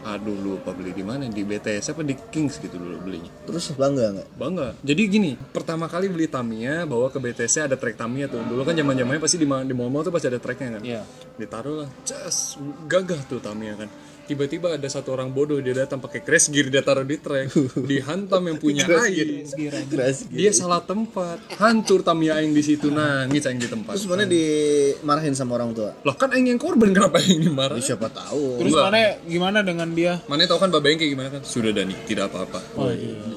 Speaker 3: aduh lupa beli di mana di BTS apa di Kings gitu dulu belinya.
Speaker 1: Terus bangga nggak?
Speaker 3: Bangga. Jadi gini, pertama kali beli Tamiya bawa ke BTC ada trek Tamiya tuh. Dulu kan zaman-zamannya pasti di ma- di mall-mall tuh pasti ada treknya kan.
Speaker 4: Iya.
Speaker 3: Ditaruh lah. Cas, gagah tuh Tamiya kan. Tiba-tiba ada satu orang bodoh dia datang pakai crash gear dia taruh di trek, dihantam yang punya air.
Speaker 1: Keras.
Speaker 3: Dia salah tempat, hancur Tamiya aing di situ Nah, nangis aing di tempat.
Speaker 1: Terus mana dimarahin sama orang tua?
Speaker 3: Lah kan aing yang korban kenapa aing dimarah?
Speaker 1: Ya, siapa tahu.
Speaker 2: terus mana gimana dengan dia?
Speaker 3: Mana tahu kan Babeng kayak gimana kan? Sudah Dani, tidak apa-apa.
Speaker 1: Oh.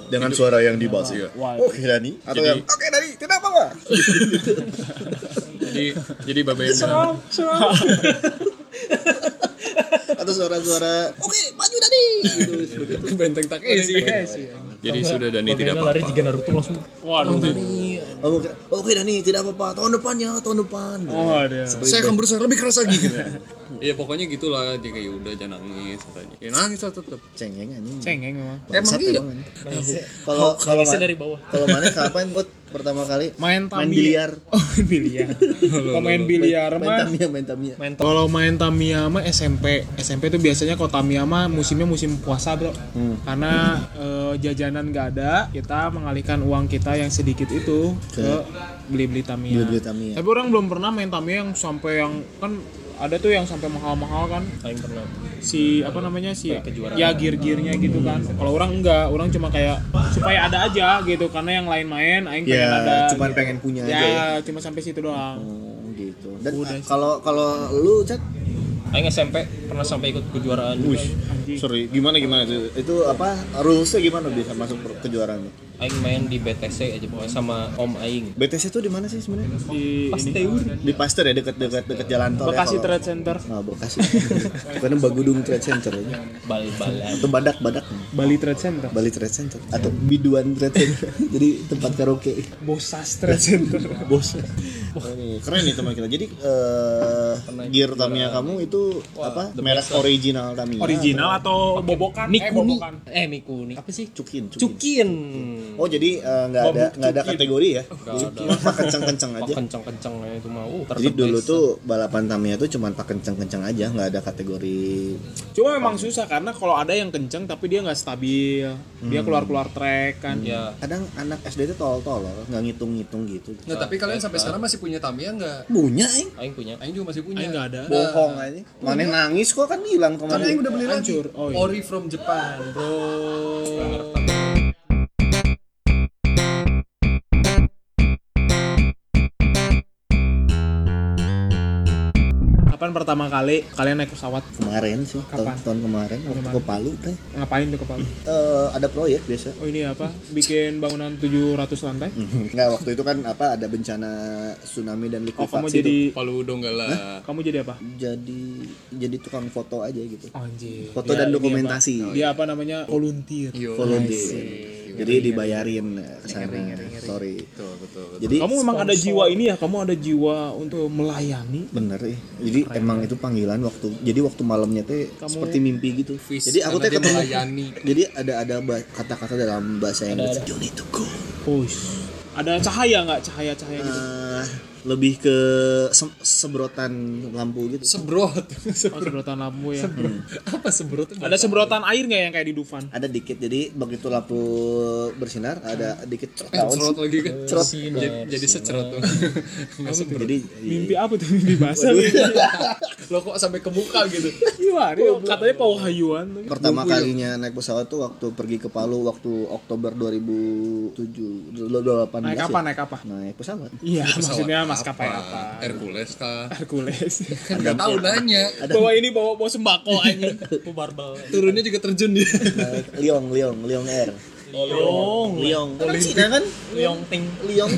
Speaker 1: Dengan suara yang dibas ya.
Speaker 2: Wah.
Speaker 1: Oke Dani atau
Speaker 3: Jadi-
Speaker 1: yang Oke Dani, tidak apa-apa.
Speaker 3: Jadi jadi Babeng bilang,
Speaker 1: Atau suara-suara Oke, maju Dani. Gitu.
Speaker 3: benteng tak isi. Jadi sudah Dani tidak
Speaker 4: Kayaknya lari
Speaker 3: apa-apa.
Speaker 4: jika Naruto langsung
Speaker 2: Waduh.
Speaker 1: Oh, Oke, oke Dani, tidak apa-apa. Tahun depan ya, tahun depan.
Speaker 2: Oh, ada.
Speaker 3: Saya akan berusaha lebih keras lagi gitu. Iya pokoknya gitulah dia kayak udah jangan nangis katanya. Ya nangis lah tetep.
Speaker 1: Cengeng anjing.
Speaker 2: Cengeng memang.
Speaker 1: Bangsat
Speaker 3: iya?
Speaker 1: emang, anjing. Kalau kalau
Speaker 4: bisa
Speaker 1: ma-
Speaker 4: dari bawah.
Speaker 1: kalau mana kapan buat pertama kali
Speaker 2: Main
Speaker 1: main
Speaker 2: Tamiya.
Speaker 1: biliar?
Speaker 2: Oh, biliar. Kalau main biliar
Speaker 1: Main
Speaker 2: mah
Speaker 1: Tamiya, main Tamiya.
Speaker 2: kalau main Tamiya mah SMP. SMP tuh biasanya kalau Tamiya mah musimnya musim puasa, Bro.
Speaker 1: Hmm.
Speaker 2: Karena eh, jajanan nggak ada, kita mengalihkan uang kita yang sedikit itu ke beli-beli Tamiya.
Speaker 1: Beli-beli Tamiya.
Speaker 2: Tapi orang belum pernah main Tamiya yang sampai yang kan ada tuh yang sampai mahal-mahal kan
Speaker 4: paling pernah.
Speaker 2: si apa namanya si ya gear-gearnya gitu kan
Speaker 1: Hmm.
Speaker 2: kalau orang enggak orang cuma kayak supaya ada aja gitu karena yang lain main aing pengen
Speaker 1: Ya,
Speaker 2: ada
Speaker 1: cuman
Speaker 2: gitu.
Speaker 1: pengen punya
Speaker 2: ya
Speaker 1: aja. ya.
Speaker 2: cuma sampai situ doang
Speaker 1: Oh, gitu. Dan ah, kalau kalau lu Chat
Speaker 4: Aing SMP pernah sampai ikut kejuaraan juga.
Speaker 1: Wish, sorry, gimana gimana itu? Itu apa rulesnya gimana bisa masuk per- kejuaraannya?
Speaker 4: Aing main di BTC aja pokoknya sama Om Aing.
Speaker 1: BTC itu di mana sih sebenarnya?
Speaker 2: di ini
Speaker 1: Di Pasteur ya dekat-dekat dekat jalan tol. ya,
Speaker 2: Bekasi
Speaker 1: kalau-
Speaker 2: Trade Center
Speaker 1: Ah, Bekasi. Karena Bagudung Trade Center ya.
Speaker 4: Bal-balan.
Speaker 1: Atau Badak Badak.
Speaker 2: Bali Trade Center
Speaker 1: Bali Trade Center atau Biduan Trade Center. Jadi tempat karaoke.
Speaker 2: Bosas Trade Center
Speaker 1: Bos. Keren nih teman kita. Jadi eh, gear Tamiya kamu itu apa? Merek original Tamiya.
Speaker 2: original atau bobokan eh
Speaker 4: Mikuni.
Speaker 2: bobokan
Speaker 4: Eh Mikuni. Apa sih?
Speaker 1: Cukin, cukin.
Speaker 4: Cukin.
Speaker 1: Oh jadi eh, nggak ada nggak ada kategori ya? Cuma kencang-kencang
Speaker 4: Oh,
Speaker 1: aja.
Speaker 4: kenceng-kenceng lah itu mau. Uh,
Speaker 1: Jadi
Speaker 4: tertebas.
Speaker 1: dulu tuh balapan Tamiya tuh cuman pak kencang-kencang aja, nggak ada kategori.
Speaker 2: cuma emang susah karena kalau ada yang kenceng tapi dia nggak stabil dia keluar keluar track kan
Speaker 4: ya
Speaker 1: Kadang anak SD tuh tolol-tolol, nggak ngitung-ngitung gitu.
Speaker 3: Nah tapi kalian sampai sekarang masih punya Tamiya nggak?
Speaker 1: Punya aing,
Speaker 4: Aing punya.
Speaker 3: Aing juga masih punya.
Speaker 2: Aing nggak ada
Speaker 1: bohong aja. Mana nangis kok kan hilang
Speaker 3: Kan Aing
Speaker 1: kemarin.
Speaker 3: udah beli lagi.
Speaker 2: Hancur. Oh, iya.
Speaker 3: Ori from Japan, bro.
Speaker 2: kapan pertama kali kalian naik pesawat
Speaker 1: Kemarin sih, tahun,
Speaker 2: Kapan?
Speaker 1: tahun kemarin waktu ke Palu teh.
Speaker 2: ngapain tuh ke Bali?
Speaker 1: Eh, ada proyek biasa.
Speaker 2: oh ini apa bikin bangunan 700 lantai
Speaker 1: Nggak waktu itu kan apa ada bencana tsunami dan
Speaker 2: Oh kamu
Speaker 1: likuifaksi
Speaker 2: jadi
Speaker 1: tuh.
Speaker 3: Palu Donggala.
Speaker 2: kamu jadi apa?
Speaker 1: jadi jadi tukang foto aja gitu.
Speaker 2: Anjir.
Speaker 1: Foto dan dokumentasi.
Speaker 2: Dia apa namanya? Volunteer.
Speaker 3: Yo.
Speaker 1: Volunteer. Jadi dibayarin eh, ke sana. Sorry.
Speaker 3: Betul, betul.
Speaker 1: Jadi
Speaker 2: Kamu memang ada jiwa ini ya, kamu ada jiwa untuk melayani.
Speaker 1: bener ya. Jadi emang itu panggilan waktu. Jadi waktu malamnya teh seperti mimpi gitu. Jadi aku teh
Speaker 3: karena dia
Speaker 1: ketemu.
Speaker 3: melayani.
Speaker 1: Jadi ada ada ba- kata-kata dalam bahasa Inggris. You need to go.
Speaker 2: Push. Ada cahaya nggak? Cahaya-cahaya gitu.
Speaker 1: Eh, lebih ke se- sebrotan lampu gitu.
Speaker 3: Sebrot.
Speaker 2: Oh, sebrotan lampu ya.
Speaker 3: Apa sebrot? itu?
Speaker 2: Ada sebrotan air nggak yang kayak di Dufan?
Speaker 1: ada dikit jadi begitu lampu bersinar ada dikit
Speaker 3: Cerot
Speaker 1: cerot
Speaker 3: lagi kan.
Speaker 1: cerot
Speaker 3: Jadi, jadi secerot tuh.
Speaker 1: jadi
Speaker 2: Mimpi apa tuh? Mimpi basah. mimpi.
Speaker 3: Lo kok sampai ke muka gitu?
Speaker 2: Iya, dia katanya pauhayuan tuh.
Speaker 1: pertama kalinya naik pesawat tuh waktu pergi ke Palu waktu Oktober 2007 2018
Speaker 2: Naik
Speaker 1: ya.
Speaker 2: apa? Naik apa?
Speaker 1: naik pesawat
Speaker 2: Iya, maksudnya maskapai apa? Er-
Speaker 3: Hercules kah?
Speaker 2: Hercules.
Speaker 3: Kan nggak tahu nanya.
Speaker 2: bawa ini bawa bawa sembako anjing.
Speaker 4: Aku barbel.
Speaker 3: Turunnya juga terjun dia.
Speaker 1: naik Liong Liong Liong Air
Speaker 4: Liong.
Speaker 1: Liong. Kan Cina kan?
Speaker 4: Liong ting.
Speaker 1: Liong.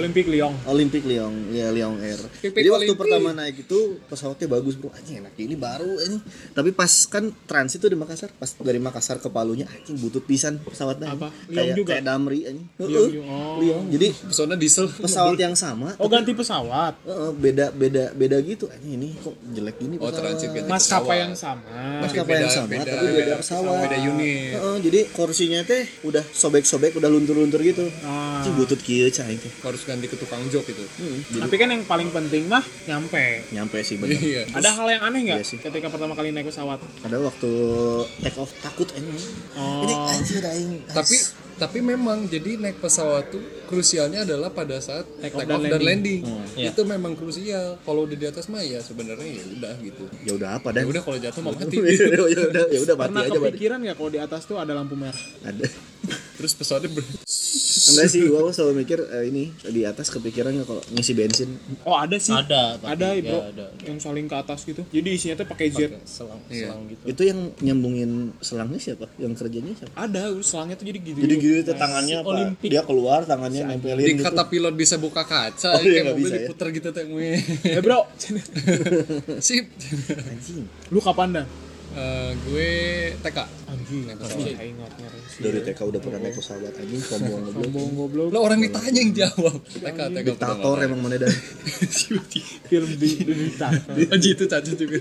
Speaker 2: Olimpik Lyon.
Speaker 1: Olympic Liong, ya Liong Air.
Speaker 3: Pipit
Speaker 1: Jadi waktu
Speaker 3: Olympic.
Speaker 1: pertama naik itu pesawatnya bagus bro, anjing enak ini baru ini. Tapi pas kan transit tuh di Makassar, pas dari Makassar ke Palunya anjing butut pisan pesawatnya.
Speaker 2: Apa? Liong
Speaker 1: Kayak,
Speaker 2: juga?
Speaker 1: kayak Damri anjing.
Speaker 2: Liong
Speaker 1: Heeh.
Speaker 2: juga. Oh.
Speaker 1: Liong. Jadi
Speaker 3: pesona diesel
Speaker 1: pesawat yang sama
Speaker 2: Oh ganti pesawat.
Speaker 1: heeh, beda beda beda gitu anjing ini kok jelek gini
Speaker 3: oh
Speaker 1: pesawat.
Speaker 3: transit ganti
Speaker 2: Maskapai
Speaker 3: pesawat.
Speaker 2: yang sama.
Speaker 1: Maskapai
Speaker 3: Beda-
Speaker 1: yang sama,
Speaker 3: beda-
Speaker 1: tapi beda,
Speaker 3: beda
Speaker 1: pesawat.
Speaker 3: pesawat, beda unit.
Speaker 1: Heeh, jadi kursinya teh udah sobek-sobek, udah luntur-luntur gitu.
Speaker 2: Ah.
Speaker 1: Cih, butut kieu cah aing teh.
Speaker 3: harus ganti ke tukang jok itu
Speaker 1: Hmm,
Speaker 2: Tapi kan yang paling penting mah nyampe.
Speaker 1: Nyampe sih bener.
Speaker 3: iya
Speaker 2: Ada hal yang aneh nggak
Speaker 1: Iya sih.
Speaker 2: ketika pertama kali naik pesawat?
Speaker 1: Ada waktu take off takut anjing.
Speaker 2: Oh.
Speaker 1: Ini anjir aing.
Speaker 3: tapi tapi memang jadi naik pesawat tuh krusialnya adalah pada saat
Speaker 2: Take
Speaker 3: take,
Speaker 2: off
Speaker 3: off,
Speaker 2: dan
Speaker 3: dan landing,
Speaker 1: Hmm,
Speaker 4: Iya.
Speaker 3: itu memang krusial kalau udah di atas mah ya sebenarnya ya udah gitu
Speaker 1: ya udah apa dan?
Speaker 3: ya udah kalau jatuh mau mati
Speaker 1: ya udah ya udah mati
Speaker 2: Pernah
Speaker 1: aja berarti.
Speaker 2: kepikiran nggak kalau di atas tuh ada lampu merah?
Speaker 1: Ada.
Speaker 3: terus pesawatnya ber
Speaker 1: Enggak sih, gua mah selalu mikir eh, ini di atas kepikiran nggak kalau ngisi bensin.
Speaker 2: Oh ada sih.
Speaker 4: Ada, tapi
Speaker 2: Ada
Speaker 4: ya,
Speaker 1: Iya,
Speaker 2: ibu.
Speaker 4: ada, ada.
Speaker 2: Yang saling ke atas gitu. Jadi isinya tuh pakai jet.
Speaker 4: Selang,
Speaker 3: Iya.
Speaker 4: selang gitu.
Speaker 1: Itu yang nyambungin selangnya siapa? Yang kerjanya siapa?
Speaker 2: Ada selangnya tuh jadi gitu.
Speaker 1: Jadi gitu tuh, tangannya apa?
Speaker 2: Olimpik.
Speaker 1: Dia keluar tangannya nempelin
Speaker 3: di
Speaker 1: gitu.
Speaker 3: kata pilot bisa buka kaca
Speaker 1: Oh, iya,
Speaker 3: kayak
Speaker 1: nggak
Speaker 3: mobil
Speaker 1: bisa ya.
Speaker 3: diputer gitu teh gue
Speaker 2: Eh bro,
Speaker 3: sip
Speaker 1: Anjing.
Speaker 2: lu kapan dah?
Speaker 3: Eh, gue TK
Speaker 2: Anjing,
Speaker 3: Anjing.
Speaker 2: Aing ngerti sih.
Speaker 1: Dari TK udah pernah naik pesawat anjing sombong goblok.
Speaker 2: Sombong goblok.
Speaker 3: lo orang ditanya yang jawab TK TK
Speaker 1: Diktator emang mana dan
Speaker 2: Film di Dita.
Speaker 3: Aji Iya, itu cacat juga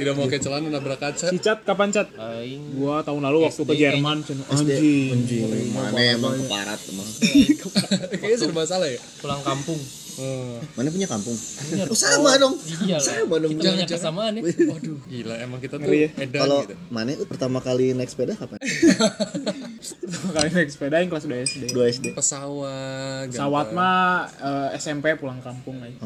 Speaker 3: tidak mau kayak celana nabrak kaca
Speaker 2: Cicat kapan cat?
Speaker 4: Aing
Speaker 2: Gua tahun lalu waktu ke Jerman cen- anjing.
Speaker 1: mana emang keparat emang.
Speaker 3: kayaknya serba salah ya
Speaker 4: pulang kampung.
Speaker 1: Mana punya kampung? Oh, sama dong.
Speaker 4: Iya lah.
Speaker 1: Sama dong.
Speaker 4: Kita banyak kesamaan ya.
Speaker 3: waduh gila emang kita tuh
Speaker 2: Ngeri ya.
Speaker 3: edan
Speaker 1: Kalau
Speaker 3: gitu
Speaker 1: mana itu pertama kali naik sepeda kapan?
Speaker 2: Pertama Kali naik sepeda yang kelas 2 SD.
Speaker 1: 2 SD.
Speaker 3: pesawat gampang. Hmm.
Speaker 2: Pesawat mah eh, SMP pulang kampung aja.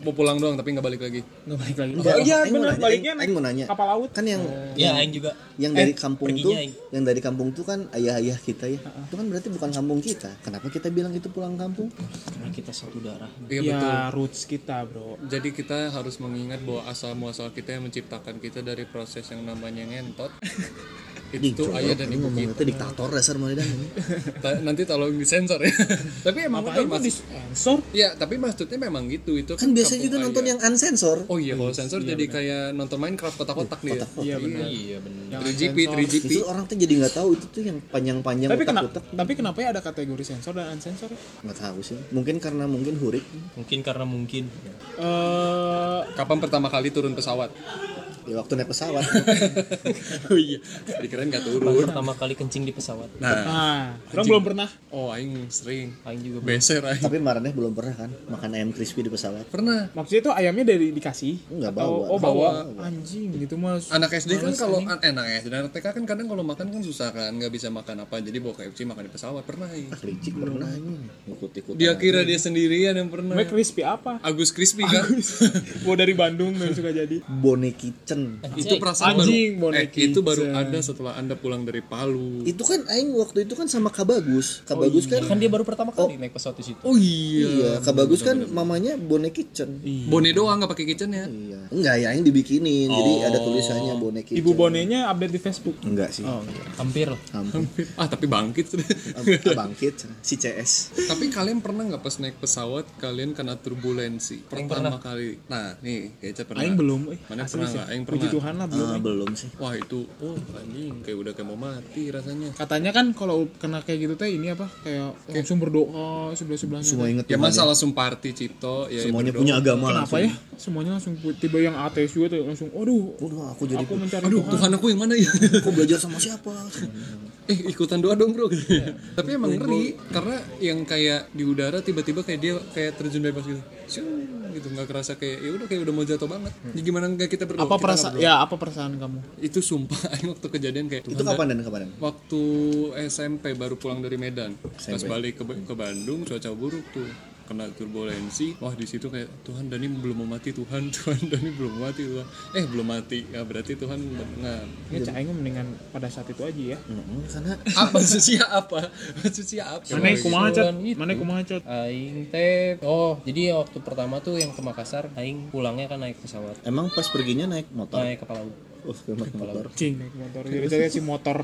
Speaker 3: mau pulang doang tapi nggak balik lagi
Speaker 2: Nggak balik lagi.
Speaker 1: Enggak,
Speaker 2: Oh iya
Speaker 1: Aing mau
Speaker 2: bener
Speaker 1: nanya,
Speaker 2: baliknya
Speaker 1: Aing-
Speaker 2: naik
Speaker 1: Aing mau nanya.
Speaker 2: kapal laut.
Speaker 1: Kan yang
Speaker 4: Ya Aing juga.
Speaker 1: yang dari kampung tuh,
Speaker 4: perginya, Aing.
Speaker 1: yang dari kampung tuh kan ayah-ayah kita ya. Itu kan berarti bukan kampung kita. Kenapa kita bilang itu pulang kampung?
Speaker 4: Karena kita satu darah.
Speaker 3: iya betul
Speaker 2: Ya roots kita bro.
Speaker 3: jadi kita harus mengingat bahwa asal muasal kita yang menciptakan kita dari proses yang namanya ngentot itu
Speaker 1: Ih, jorok,
Speaker 3: ayah dan
Speaker 1: ini
Speaker 3: ibu
Speaker 1: ngomongnya
Speaker 3: kita
Speaker 1: tuh diktator dasar mana dan ini.
Speaker 3: Ta- nanti tolong disensor ya tapi emang
Speaker 2: Apa
Speaker 3: betul
Speaker 2: itu
Speaker 3: mas
Speaker 2: di sensor?
Speaker 3: ya tapi maksudnya memang gitu itu
Speaker 1: Kan biasanya
Speaker 3: kampung
Speaker 1: kita nonton
Speaker 3: ayah.
Speaker 1: yang unsensor.
Speaker 3: oh iya kalau sensor jadi kayak nonton Minecraft kotak-kotak nih ya
Speaker 2: Iya benar.
Speaker 4: Iya benar.
Speaker 3: 3GP 3GP
Speaker 1: Itu orang tuh jadi nggak tahu itu tuh yang panjang-panjang
Speaker 2: Tapi kenapa?
Speaker 1: otak-otak.
Speaker 2: Tapi kenapa ya ada kategori sensor dan unsensor? ya?
Speaker 1: Nggak tahu sih. Mungkin karena mungkin hurik.
Speaker 4: Mungkin karena mungkin.
Speaker 2: Eh
Speaker 3: kapan pertama kali turun pesawat
Speaker 1: Ya waktu naik pesawat.
Speaker 3: oh iya dikirain nggak turun
Speaker 4: Pertama kali kencing di pesawat.
Speaker 3: nah
Speaker 2: ah, orang belum pernah.
Speaker 3: oh aing sering
Speaker 4: Aing juga.
Speaker 3: beser aing
Speaker 1: Tapi marahnya belum pernah kan makan ayam crispy di pesawat.
Speaker 3: pernah
Speaker 2: Maksudnya tuh ayamnya dari dikasih
Speaker 1: Enggak
Speaker 2: atau
Speaker 1: bawa.
Speaker 2: oh bawa, anjing gitu mas.
Speaker 3: anak SD kan kalau an- eh, anak SD anak TK kan kadang kalau makan kan susah kan nggak bisa makan apa jadi bawa KFC makan di pesawat pernah ya.
Speaker 1: Kelicik Ah,
Speaker 2: Hmm.
Speaker 1: pernah ini. Ngikut-ikut.
Speaker 3: dia kira dia sendirian yang pernah
Speaker 2: Mereka crispy apa?
Speaker 3: Agus Crispy kan
Speaker 2: Gua dari Bandung dan suka jadi.
Speaker 1: Bone kitchen.
Speaker 3: itu
Speaker 4: Iya,
Speaker 3: perasaan
Speaker 2: Anjing,
Speaker 3: baru eh,
Speaker 2: bonek
Speaker 3: itu baru ada setelah anda pulang dari Palu
Speaker 1: Itu kan aing waktu itu kan sama Kabagus.
Speaker 2: Oh
Speaker 1: Kabagus
Speaker 2: iya.
Speaker 1: kan
Speaker 4: Kan dia baru pertama kali naik pesawat di situ.
Speaker 3: oh
Speaker 1: Iya,
Speaker 3: iya
Speaker 1: Kabagus kan mamanya bone kitchen.
Speaker 2: Iya.
Speaker 3: bone doang nggak pakai kitchen ya
Speaker 1: Iya. Enggak ya, yang dibikinin. Jadi ada tulisannya bone kitchen.
Speaker 2: Oh. Ibu Oh. bonenya update di Facebook.
Speaker 1: Enggak sih.
Speaker 4: Hampir lah.
Speaker 1: Ampun.
Speaker 3: ah tapi bangkit
Speaker 1: Abang Kit, si CS.
Speaker 3: tapi kalian pernah nggak pas naik pesawat kalian kena turbulensi pertama kali nah nih kayaknya pernah
Speaker 2: Aing belum, eh.
Speaker 3: mana
Speaker 2: Asli
Speaker 3: pernah
Speaker 2: sih.
Speaker 3: nggak aing
Speaker 2: Puji
Speaker 3: pernah
Speaker 2: Tuhan lah belum.
Speaker 1: Ah, belum
Speaker 2: Ya,
Speaker 1: sih.
Speaker 3: wah itu oh anjing kayak udah kayak mau mati rasanya
Speaker 2: Katanya kan kalau kena kayak gitu teh ini apa kayak langsung berdoa sebelah sebelahnya.
Speaker 1: Semua inget
Speaker 3: ya
Speaker 1: tuh,
Speaker 3: masa langsung party cipto ya
Speaker 1: semuanya
Speaker 3: berdoa.
Speaker 1: punya agama
Speaker 2: Kenapa
Speaker 1: langsung.
Speaker 2: ya? Semuanya langsung pu- tiba yang ateis juga tuh langsung. Aduh,
Speaker 1: Waduh, aku jadi
Speaker 2: aku mencari
Speaker 3: aduh
Speaker 2: Tuhan.
Speaker 3: Tuhan aku yang mana ya
Speaker 1: aku belajar sama siapa? Semuanya.
Speaker 3: eh ikutan doa dong bro tapi emang ngeri karena yang kayak di udara tiba-tiba kayak dia kayak terjun bebas gitu Syung, gitu nggak kerasa kayak ya udah kayak udah mau jatuh banget ya, gimana nggak kita berdoa
Speaker 2: Apa
Speaker 3: Kita
Speaker 2: perasaan?
Speaker 3: nggak berdoa.
Speaker 2: Ya apa perasaan kamu?
Speaker 3: itu sumpah aing waktu kejadian kayak
Speaker 1: Itu
Speaker 3: Tuhan,
Speaker 1: kapan dan kapan? Dan?
Speaker 3: waktu SMP baru pulang dari Medan pas balik ke, ke Bandung cuaca buruk tuh kena turbulensi wah di situ kayak Tuhan Dani belum mau mati Tuhan Tuhan Dani belum mau mati Tuhan eh belum mati ya berarti Tuhan benar
Speaker 2: Ya Cak Aing mendingan pada saat itu aja ya.
Speaker 1: Mm, karena
Speaker 3: apa susia apa susia apa
Speaker 2: Mana kumaha cat?
Speaker 4: Tuhan itu.
Speaker 2: Mana kumaha cat?
Speaker 4: Aing teh oh jadi waktu pertama tuh yang ke Makassar Aing pulangnya kan naik pesawat
Speaker 1: emang pas perginya naik motor.
Speaker 4: naik kapal laut
Speaker 1: Wah, kena Oh, motor.
Speaker 2: Cing naik motor. Jadi saya si motor.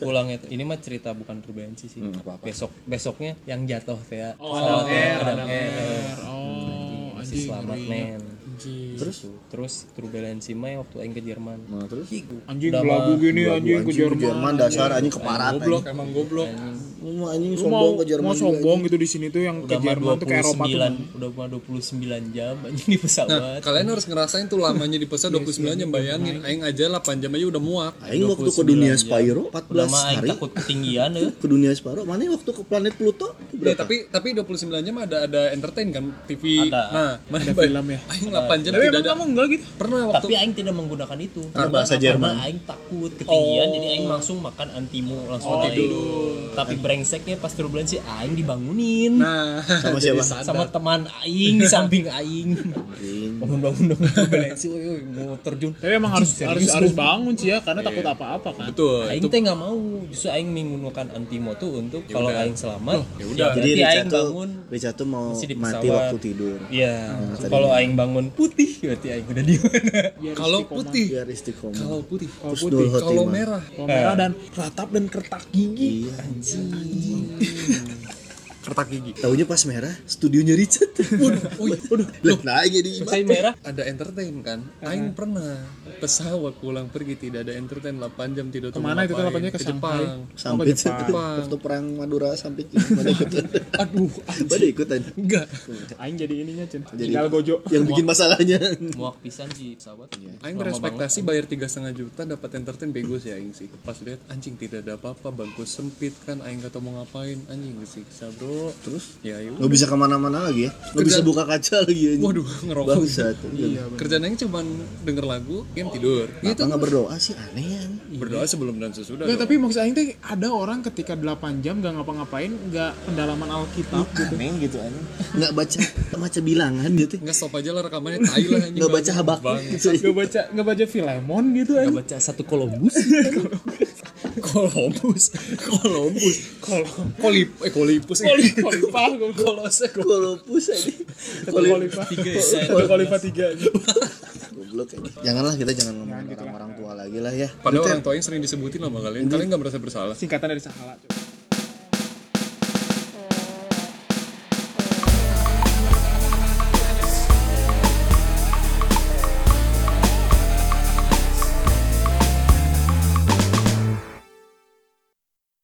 Speaker 4: pulangnya tuh. ini mah cerita bukan turbulensi sih
Speaker 1: Hmm, apa-apa.
Speaker 4: besok besoknya yang jatuh teh ya.
Speaker 2: Oh, Adam Air, Adam Air.
Speaker 4: eh, Masih
Speaker 2: Oh, anjing.
Speaker 4: selamat
Speaker 2: ngeri.
Speaker 4: men
Speaker 2: Anjing.
Speaker 1: Terus?
Speaker 4: terus turbulensi mah waktu aing ke Jerman
Speaker 1: Nah, terus
Speaker 2: Anjing
Speaker 4: Udah
Speaker 2: belagu
Speaker 4: mah,
Speaker 2: gini anjing
Speaker 1: Anjing,
Speaker 2: ke Jerman.
Speaker 1: dasar anjing keparat.
Speaker 3: Goblok emang goblok.
Speaker 1: anjing. Lu anjing
Speaker 2: Lu mau
Speaker 1: sombong ke Jerman.
Speaker 2: mau
Speaker 1: juga,
Speaker 2: sombong gitu di sini tuh yang ke
Speaker 4: udah mah
Speaker 2: Jerman tuh ke Eropa tuh.
Speaker 4: 29 udah mah 29 jam anjing di
Speaker 3: Nah,
Speaker 4: pesawat
Speaker 3: kalian harus ngerasain tuh lamanya di pesawat 29 jam bayangin aing aja 8 jam aja udah muak.
Speaker 1: anjing. Aing waktu ke dunia Spyro
Speaker 4: udah
Speaker 1: 14
Speaker 4: mah aing
Speaker 1: hari.
Speaker 4: takut ketinggian eh.
Speaker 1: Ke dunia Spyro, mana waktu ke planet Pluto? itu
Speaker 3: Ya,
Speaker 1: Berapa?
Speaker 3: tapi tapi 29 jam ada ada entertain kan TV.
Speaker 4: Ada.
Speaker 3: Nah, mana
Speaker 2: Ada film ya.
Speaker 3: Aing 8 jam
Speaker 2: Tapi
Speaker 3: tidak
Speaker 2: emang
Speaker 3: ada.
Speaker 2: kamu enggak gitu?
Speaker 3: Pernah waktu
Speaker 4: tapi aing tidak menggunakan itu
Speaker 1: Karena bahasa Jerman.
Speaker 4: karena aing takut ketinggian jadi aing langsung makan antimu langsung aing. tapi brengseknya pas turbulensi aing dibangunin
Speaker 3: Nah,
Speaker 1: Sama
Speaker 3: jadi
Speaker 1: siapa?
Speaker 3: sadar.
Speaker 4: sama teman aing di samping aing bangun bangun dong turbulensi woy, woy, mau terjun
Speaker 2: Tapi emang harus
Speaker 4: Serius,
Speaker 2: harus
Speaker 4: lu.
Speaker 2: harus bangun sih ya karena takut apa-apa kan.
Speaker 3: Betul.
Speaker 4: Aing
Speaker 3: itu
Speaker 4: teh nggak mau, justru Aing menggunakan antimo tuh untuk kalau
Speaker 3: udah.
Speaker 4: Aing selamat,
Speaker 3: ya udah.
Speaker 1: Jadi
Speaker 4: berarti
Speaker 1: Richard
Speaker 4: Aing
Speaker 1: tuh,
Speaker 4: bangun,
Speaker 1: Richard tuh mau
Speaker 4: masih di
Speaker 1: mati
Speaker 4: pesawat.
Speaker 1: waktu tidur.
Speaker 4: iya. kalau Aing bangun putih, berarti Aing udah di mana?
Speaker 2: Biar
Speaker 3: kalau
Speaker 2: istiqomah.
Speaker 3: putih,
Speaker 1: Biar istiqomah.
Speaker 3: kalau putih,
Speaker 2: kalau
Speaker 1: Terus
Speaker 2: putih,
Speaker 1: Dul Hotimah.
Speaker 3: kalau merah.
Speaker 2: kalau merah dan ratap dan kertak gigi.
Speaker 1: Iya.
Speaker 3: Kertak gigi.
Speaker 1: Tahunya pas merah, studionya Richard. Waduh, waduh. Lah, nah ini
Speaker 4: Saya merah,
Speaker 3: Ada entertain kan? Aing pernah pesawat pulang pergi tidak ada entertain 8 jam tidak tahu
Speaker 2: Kemana itu tuh
Speaker 3: ngapain.
Speaker 2: 8 jam? Ke Shanghai.
Speaker 3: Jepang.
Speaker 1: sampai
Speaker 3: Jepang.
Speaker 1: waktu perang Madura sampai mana ikutan.
Speaker 3: Aduh,
Speaker 1: Mana ikutan.
Speaker 3: enggak.
Speaker 2: Aing jadi ininya, Cen.
Speaker 1: Jadi-
Speaker 2: Tinggal gojo.
Speaker 1: Yang bikin masalahnya.
Speaker 4: muak pisan sih pesawat.
Speaker 3: Aing berespektasi bayar tiga setengah juta dapat entertain bego sih aing sih. Pas lihat anjing tidak ada apa-apa, bangku sempit kan, aing gak tau mau ngapain, anjing kesiksa bro. Terus? Ya yuk.
Speaker 1: Nggak bisa kemana-mana lagi ya. Nggak bisa buka kaca lagi. anjing.
Speaker 3: Waduh, ngerokok.
Speaker 1: Bangsat. Iya.
Speaker 3: Kerjaan aing cuman denger lagu, game tidur.
Speaker 1: Kenapa nggak berdoa sih aneh ya.
Speaker 3: Berdoa sebelum dan sesudah.
Speaker 2: Iya. Nggak,
Speaker 3: dong.
Speaker 2: tapi maksud Aing teh ada orang ketika 8 jam gak ngapa-ngapain, gak pendalaman Alkitab gitu.
Speaker 1: Aneh gitu aneh. Nggak baca nggak baca bilangan gitu.
Speaker 3: Nggak stop aja lah rekamannya tai lah anjing.
Speaker 1: Nggak baca habak. gitu,
Speaker 3: Bang.
Speaker 2: Gak baca gak baca Filemon gitu
Speaker 4: Gak
Speaker 2: Aing.
Speaker 4: baca satu Columbus, Columbus, Columbus,
Speaker 3: Kolip eh kolipus.
Speaker 2: Kolif- Kolifah, gua bilang.
Speaker 3: Kolose kok.
Speaker 1: Kolopus aja.
Speaker 2: Kolifah. Kolifah Kolifah tiga.
Speaker 1: Goblok aja. Janganlah kita jangan ngomongin orang-orang tua lagi lah ya.
Speaker 3: Padahal orang tua yang sering disebutin sama kalian, kalian nggak merasa bersalah.
Speaker 2: Singkatan dari Sahala. coba.